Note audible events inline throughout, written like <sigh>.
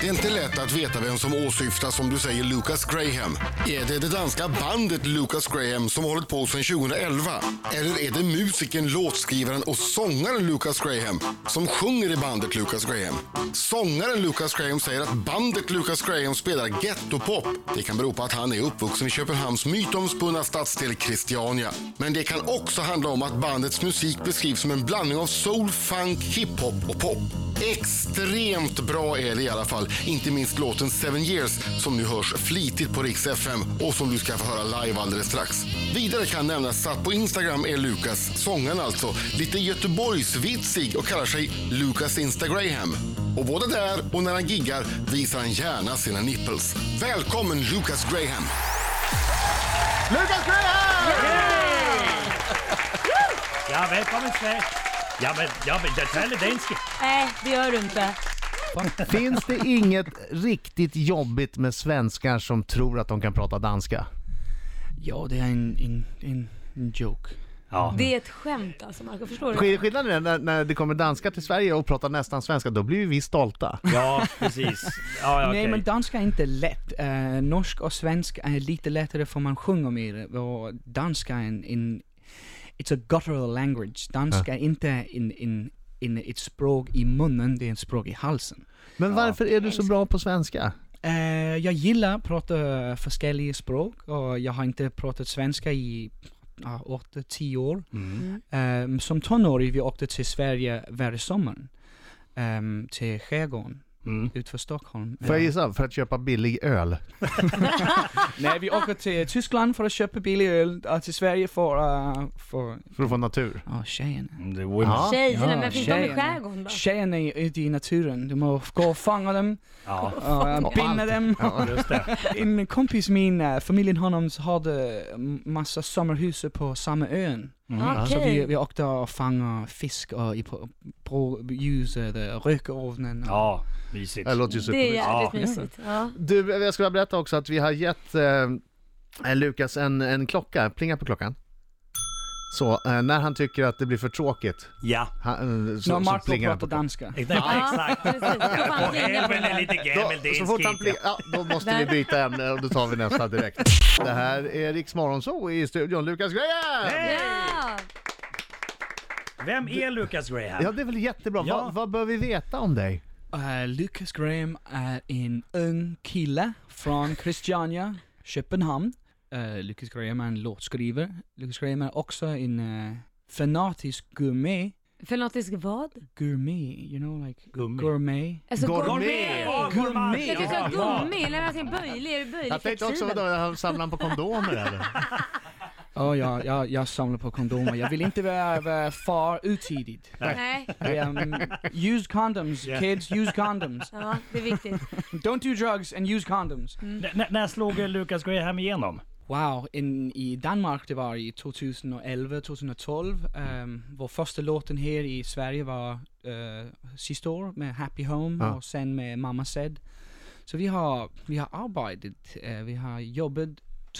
Det är inte lätt att veta vem som åsyftas om du säger Lucas Graham. Är det det danska bandet Lucas Graham som hållit på sedan 2011? Eller är det musikern, låtskrivaren och sångaren Lucas Graham som sjunger i bandet Lucas Graham? Sångaren Lucas Graham säger att bandet Lucas Graham spelar gettopop. Det kan bero på att han är uppvuxen i Köpenhamns mytomspunna stadsdel Christiania. Men det kan också handla om att bandets musik beskrivs som en blandning av soul, funk, hiphop och pop. Extremt bra är det i alla fall. Inte minst låten Seven Years som nu hörs flitigt på Rix FM och som du ska få höra live alldeles strax. Vidare kan nämnas att på Instagram är Lukas, sångaren alltså, lite Göteborgsvitsig och kallar sig Lukas Instagram. Och både där och när han giggar visar han gärna sina nipples. Välkommen Lukas Graham! Lucas Graham! Ja, välkommen Sverige. Ja men, ja men jag talar danska. Nej, det gör du inte. Finns det inget riktigt jobbigt med svenskar som tror att de kan prata danska? Ja, det är en, en, en, en joke. Ja. Det är ett skämt alltså Marco, förstår du? Skill- Skillnaden är när, när det kommer danskar till Sverige och pratar nästan svenska, då blir vi stolta. Ja, precis. <laughs> Ja, ja, Nej, okej. men danska är inte lätt. Eh, norsk och svensk är lite lättare för man sjunger mer och danska är en, en it's a guttural language. Danska är inte en, en, en, ett språk i munnen, det är ett språk i halsen. Men varför är du så bra på svenska? Eh, jag gillar att prata olika språk och jag har inte pratat svenska i ja, åtta, tio år. Eh, som tonåring vi åkte till Sverige varje sommar. ehm, till skärgården utanför Stockholm. Eh, Får jag gissa? För att köpa billig öl. Nej, vi åker till Tyskland för att köpa billig öl, och till Sverige för, uh, för För att få natur. ja tjejerna. The women. Ja. Tjejerna, men Ja, finns de i tjejerna. skärgården då? Tjejerna är ute i naturen, du måste gå och fånga dem, Ja, uh, binda dem. just <laughs> det. En kompis min, eh, familjen honom, hade massa sommarhus på samma ön. Mm. Så vi, Okej. vi åkte och fångade fisk och i, på, på ljuset, och rökovnen. Och, Ja, mysigt. Det låter ju Det är supermysigt. jävligt Ja. mysigt. Ja. Du, jag skulle berätta också att vi har gett eh, Lukas en, en klocka, plinga på klockan. Så, eh, när han tycker att det blir för tråkigt, Ja. han, eh, så, När så Marco plingar han pratar på klockan. danska. Ja, Exakt. precis. Då får han Och ringa på även är den. lite Då, gammeldansk. så fort han inte? plingar, ja, då måste vi byta ämne och då tar vi <laughs> nästa direkt. Det här är Riks Morgonzoo i studion, Lukas Graham! Ja. Vem är Lucas Graham? Ja, det är väl jättebra. Ja. Vad, vad bör vi veta om dig? Eh, Lucas Graham är en ung kille från Christiania, Köpenhamn. Eh, Lucas Graham är en låtskrivare. Lucas Graham är också en eh, fanatisk gourmet. Fanatisk vad? Gourmet, you know like Gummi. gourmet. Alltså Gourmet. gourmet! Ja, gourmet. Jag tycker Ja, att gummi, eller alltså en böjlig, är du böjlig Jag tänkte också, flexibel? vadå, jag samlar han på kondomer eller? Oh, ja, jag, jag samlar på kondomer. Jag vill inte vara, vara far utidigt. Nej, Um, use condoms, Yeah. kids, use condoms. ja det är viktigt. Don't do drugs and use condoms. N- n- när slog eh, Lucas Graham igenom? Wow, in, i Danmark det var i 2011, 2012. Um, vår första låten här i Sverige var uh, sista år med Happy Home Ja. och sen med Mamma Said. Så vi har, vi har arbetat, eh, vi har jobbat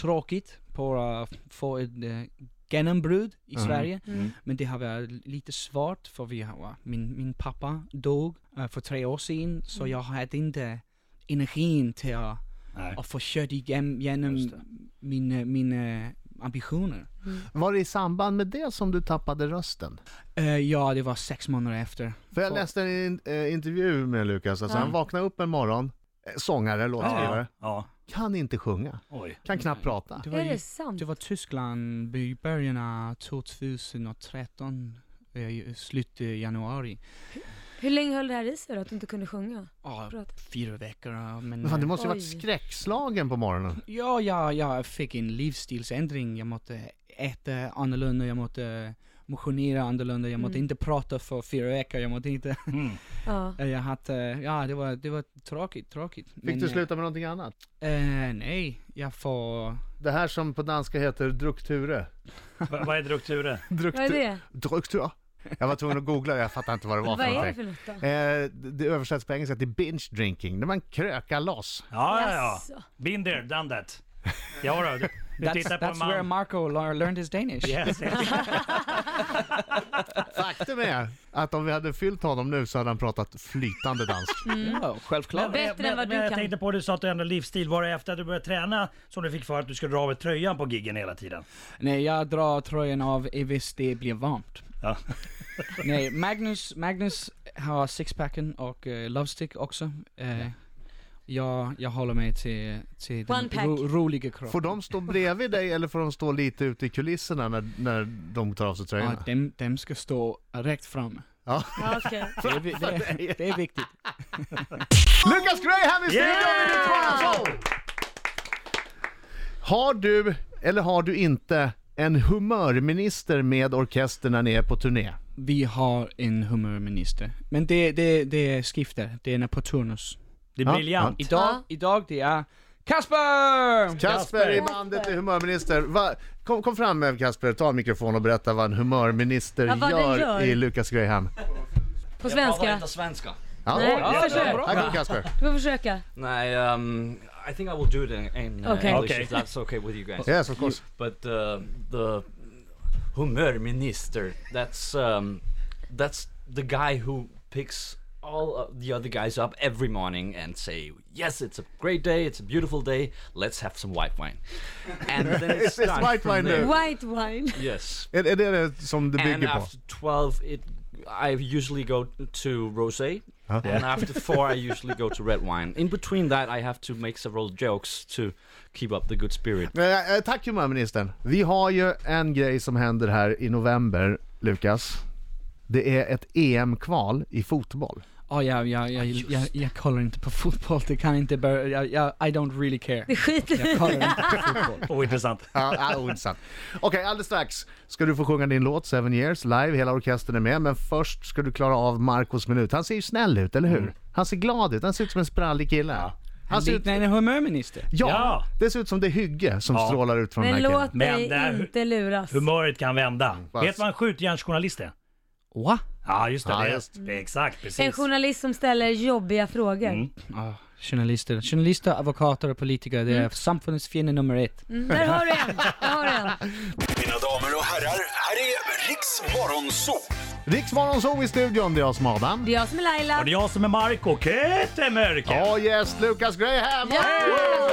tråkigt på att få ett uh, genombrud i Sverige. Mm. Men det har varit lite svårt för vi har, min, min pappa dog eh, för tre år sedan så jag hade inte energin till att Nej. och få kört igen, igenom Just det. mina, mina eh, ambitioner. Var det i samband med det som du tappade rösten? Eh, ja, det var sex månader efter. För jag Så- läste en in- eh, intervju med Lukas, alltså han vaknade upp en morgon, eh, sångare, låtskrivare, Ja. ja. kan inte sjunga, Oj. kan knappt prata. Det var, Är i, det sant? det var Tyskland i början av 2013, eh, i slutet av januari. Hur länge höll det här i sig då, att du inte kunde sjunga? Ja, Prat. fyra veckor. ja, Men, Men fan, du måste ju Oj. varit skräckslagen på morgonen. Ja, ja, jag fick en livsstilsändring. Jag måste äta annorlunda, jag måste motionera annorlunda, jag Mm. måste inte prata för fyra veckor, jag måste inte... <laughs> Mm. Ja. Jag hade, ja det var, det var tråkigt, tråkigt. Fick du sluta med någonting annat? Eh, nej, jag får... Det här som på danska heter drukture. V- Vad är drukturen? Vad är det? Drukture? Jag var tvungen att googla det, jag fattar inte vad det var Vad för är det någonting. för något då? Eh, det översätts på engelska till binge drinking, när man krökar loss. Ja, ja, ja. Jaså. Been there, done that. Ja, då. Du tittar på en that's where man. Marco lear- learned his Danish. Yes, yes. Faktum är att om vi hade fyllt honom nu så hade han pratat flytande dansk. Ja, Oh, självklart. Men- Bättre men, än vad men du jag kan. tänkte på, du sa att du ändrade livsstil. Var det efter att du började träna som du fick för att du skulle dra av dig tröjan på giggen hela tiden? Nej, jag drar tröjan av ifall det blir varmt. Ja. <laughs> Nej, Magnus, Magnus har sixpacken och uh, lovestick också. Eh, jag, jag håller mig till, till One den pack. ro, roliga kroppen. Får de stå bredvid dig eller får de stå lite ute i kulisserna när, när de tar av sig Ja, tröjorna? dem, dem ska stå rätt fram. Ja. Ja, okej. Det är, vi- <laughs> det, det är viktigt. Lucas Graham i studion i Rix Morgon Show! Har du, eller har du inte, en humörminister med orkester när ni är på turné? Vi har en humörminister. Men det, det, det skiftar, det är på turnus. Det är Ja, briljant. Idag, Ja. idag det är Kasper! Kasper i bandet är humörminister. Va, kom, kom fram med Kasper, ta en mikrofon och berätta vad en humörminister Ja, vad den gör, gör. i Lucas Graham. På svenska. svenska. Ja, Nej, oj, försök. Här kommer Kasper. Du får försöka. Nej, um, I think I will do it in, in uh, Okay. English Okay. if that's okay with you guys. Yes, of course. But uh, the humor minister, that's um, that's the guy who picks all of the other guys up every morning and say, "Yes, it's a great day. It's a beautiful day. Let's have some white wine." And then it <laughs> It's- it's starts white from wine there. day. White wine. Yes. Är, är det det som det and bygger på? after 12 it i usually go to rosé and after 4 i usually go to red wine in between that i have to make several jokes to keep up the good spirit Eh, eh, Tack humörministern. Vi har ju en grej som händer här i november, Lukas. Det är ett EM-kval i fotboll. Oh, ja, ja, ja, jag, jag, jag kollar inte på fotboll, det kan inte börja, jag, jag, I don't really <laughs> care. Det skiter vi Jag kollar inte på fotboll. Ointressant. Ja, ja, ointressant. Okej, alldeles strax ska du få sjunga din låt Seven Years live, hela orkestern är med. Men först ska du klara av Marcos minut. Han ser ju snäll ut, eller hur? Han ser glad ut, han ser ut som en sprallig kille. Han ser ut... Liknar en humörminister. Ja, Ja. det ser ut som det hygge som Ja. strålar ut från den Men här killen. låt Men dig där- inte luras. Humöret kan vända. Fast- Vet du vad en skjutjärnsjournalist är? Va? Ja, just det. Ja, det är- just. Exakt, En precis. journalist som ställer jobbiga frågor. Ja, journalister. Journalister, advokater och politiker, Mm. det är samfundets fiende nummer ett. Mm, där har du en! Där har du en. Mina damer och herrar, här är Riks Morgonzoo! Riksmorgon Zoo i studion, det är jag som är Adam. Det är jag som är Och Laila. det är jag som är Marco Kettemörker. Ja, yes, Lukas Graham! Ja!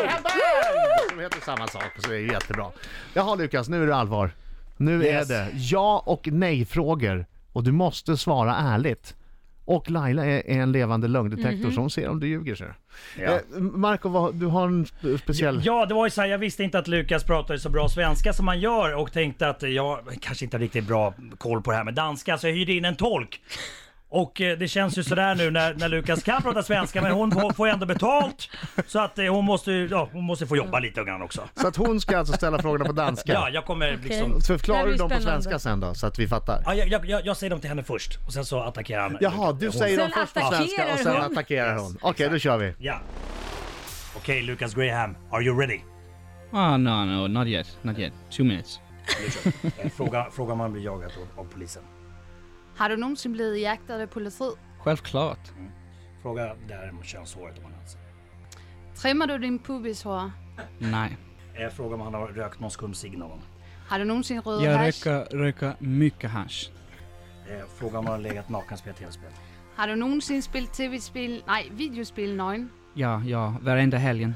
Woo! De heter samma sak, så det är ju jättebra. Jaha Lukas, nu är det allvar. Nu Yes. är det ja och nej-frågor och du måste svara ärligt. Och Laila är, är en levande lögndetektor så hon ser om du ljuger. Så. Ja. Eh, Marco, vad, du har en sp- speciell... Ja, det var ju så här, jag visste inte att Lukas pratade så bra svenska som han gör och tänkte att jag kanske inte har riktigt bra koll på det här med danska, så jag hyrde in en tolk. Och eh, det känns ju sådär nu när, när Lukas kan prata svenska, men hon får- får ju ändå betalt. Så att eh, hon måste, ju- ja, hon måste få jobba lite grann också. Så att hon ska alltså ställa frågorna på <laughs> danska. Ja, jag kommer liksom... Så förklarar Det här du blir dem på spännande. svenska sen då, så att vi fattar. Ja, jag, jag, jag, jag säger dem till henne först och sen så attackerar han. Jaha, du Hon- säger dem Sen först på attackerar svenska och sen hon. attackerar hon. Okej, då kör vi. Ja. Okej, Lukas Graham, are you ready? Ah, no, no, not yet, not yet. Two minutes. Eh, Fråga, fråga om man blir jagad av- av polisen. Har du någonsin blivit jagad av polisen? Självklart. Fråga däremot könshåret om han anser. Trimmar du din pubishår? Nej. Mm. Eh, Fråga om han har rökt någon skumcigg någon gång. Har du någonsin rökt Jag hasch? röker, röker mycket hasch. Eh, Fråga om han har legat naken och spelat tv-spel. Har du någonsin spelat tv-spel? Nej, videospel någon. Ja, ja, varenda helgen.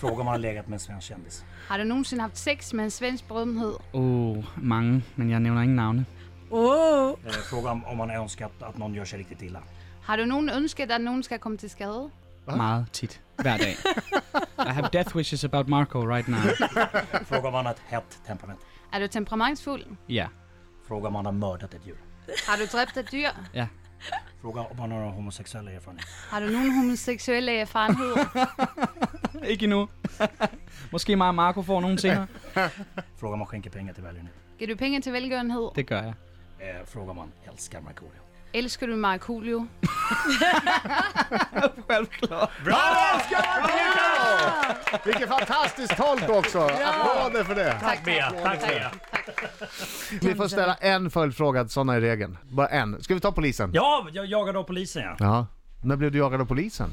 Fråga om han har legat med en svensk kändis. Har du någonsin haft sex med en svensk berömdhet? Oh, många, men jag nämner inga namn. Oh. Eh, Fråga om, om han har önskat att någon gör sig riktigt illa. Har du någon önskat att någon ska komma till skada? Meget tit. Hver dag. I have death wishes about Marco right now. Fråga om han har ett hett temperament. Är du temperamentsfull? Ja, Fråga om han har mördat ett djur. Har du dräpt ett djur? ja. Fråga om han har några homosexuella erfarenheter. Har du någon homosexuell erfarenhet? <laughs> Ikke nu. Måske mig og Marco får nogen senere. Fråga om han skänker pengar till välgörenhet. Ger du pengar till välgörenhet? Det gør jeg. Eh, Fråga om han älskar Markoolio. Älskar du Markoolio? Vilken fantastisk tolk också! Applåder för det! Tack, Bea, tack Bea. Vi får ställa en följdfråga, sådana är regeln. Bara en. Ska vi ta polisen? Ja, jag jagade av polisen ja. Ja. När blev du jagad av polisen?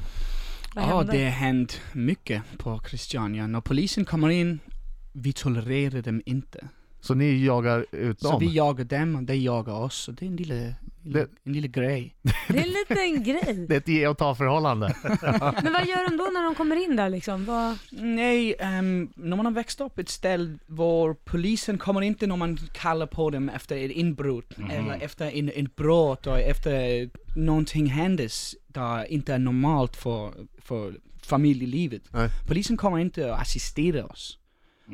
Vad Ja, hände? det har hänt mycket på Christiania. När polisen kommer in vi tolererar dem inte. Så ni jagar ut Så dem? vi jagar dem och de jagar oss. Så det är en lille, Det- en lille grej. Det är en liten grej. Det är ett ge och ta förhållande. Men vad gör de då när de kommer in där liksom? Vad... Nej, ehm, när man har växt upp i ett ställe var polisen kommer inte när man kallar på dem efter ett inbrott Mm. eller efter en, en brott och efter någonting händes där inte är normalt för, för familjelivet. Nej. Mm. Polisen kommer inte att assistera oss.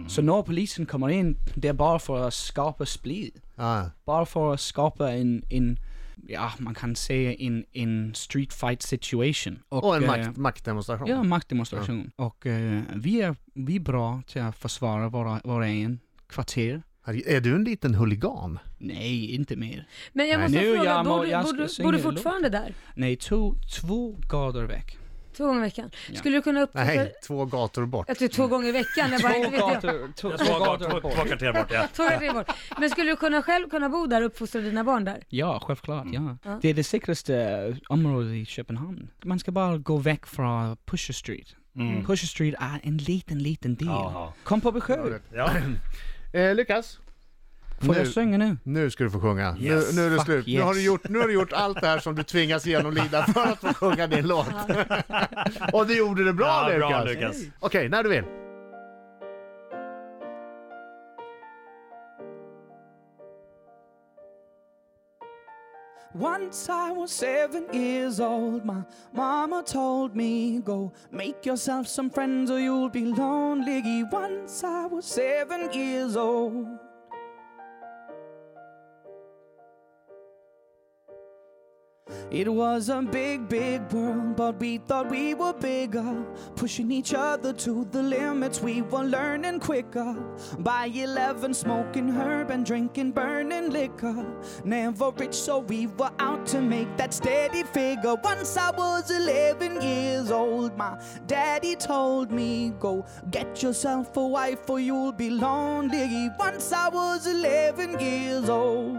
Så när polisen kommer in, det är bara för att skapa splid. Ah. Bara för att skapa en, en ja man kan säga en, en street fight situation. Och en eh, makt, maktdemonstration. Ja, maktdemonstration. Och eh, vi, är, vi är bra till att försvara våra, våra egen kvarter. Herregud, Är du en liten huligan? Nej, inte mer. Men jag Nej, måste nu, fråga, jag må- bor, du, jag bor, ska du, synga bor du en låt. fortfarande där? Nej, två, två gator väck. Två gånger i veckan? Ja. Skulle du kunna upptäcka... Nej, två gator bort. Jag tror två gånger i veckan, jag bara Två inte vet jag. gator, två, Två två gator, gator två bort. kvarter bort ja. Två gånger bort. Men skulle du kunna själv kunna bo där och uppfostra dina barn där? Ja, självklart. Ja. Det är det säkraste eh, området i Köpenhamn. Man ska bara gå väck från Pusher Street. Pusher Street är en liten, liten del. Jaha. Kom på besked. ja. Eh, Lukas, Får Nu. jag sjunga nu? nu ska du få sjunga. Yes. nu, nu är det Fuck slut. Nu, har du yes. gjort, nu har du gjort allt det här som du tvingas genomlida för att få sjunga din låt. Och du gjorde det bra Ja, Lukas! bra Lukas. Okej, när du vill. Once I was seven years old, my mama told me, Go make yourself some friends or you'll be lonely. Once I was seven years old. It was a big, big world, but we thought we were bigger. Pushing each other to the limits, we were learning quicker. By 11, smoking herb and drinking burning liquor. Never rich, so we were out to make that steady figure. Once I was 11 years old, my daddy told me, Go get yourself a wife, or you'll be lonely. Once I was 11 years old.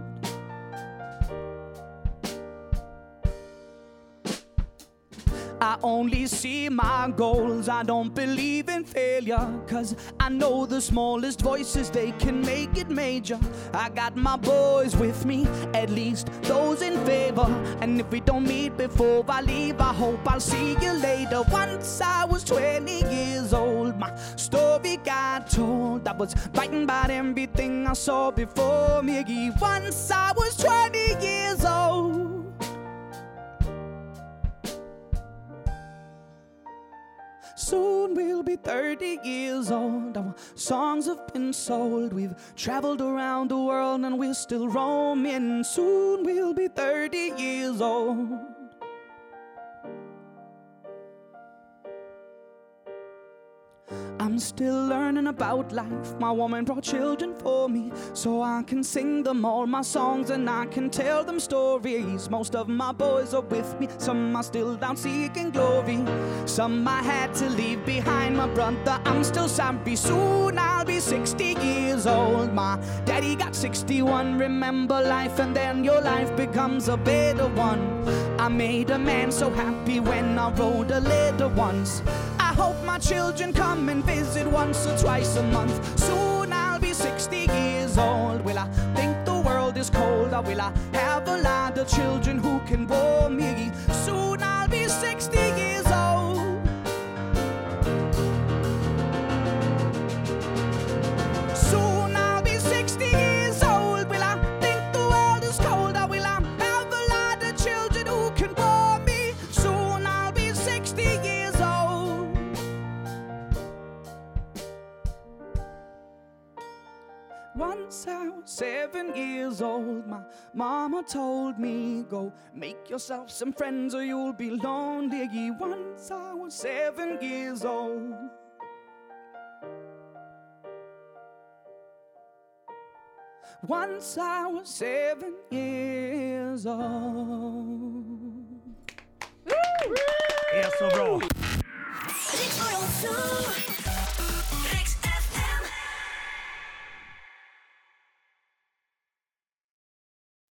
I only see my goals. I don't believe in failure. Cause I know the smallest voices, they can make it major. I got my boys with me, at least those in favor. And if we don't meet before I leave, I hope I'll see you later. Once I was 20 years old, my story got told. I was writing about everything I saw before me. Once I was 20 years old. Soon we'll be 30 years old. Our songs have been sold. We've traveled around the world and we're still roaming. Soon we'll be 30 years old. I'm still learning about life. My woman brought children for me, so I can sing them all my songs and I can tell them stories. Most of my boys are with me, some are still down seeking glory. Some I had to leave behind my brother. I'm still sorry. Soon I'll be 60 years old. My daddy got 61. Remember life, and then your life becomes a better one. I made a man so happy when I rode a little once. I hope my children come and visit once or twice a month. Soon I'll be 60 years old. Will I think the world is cold? Or will I have a lot of children who can warm me? Soon I'll be 60 years old. Soon I'll be 60 years old. Will I think the world is cold? Or will I have a lot of children who can warm me? Soon I'll be 60 years old. Once I was seven seven years old, my mama told me, Go make yourself some friends or you'll be lonely. Once I was seven years old. Once I was seven years old. Det är så bra. Riksmorgon, så.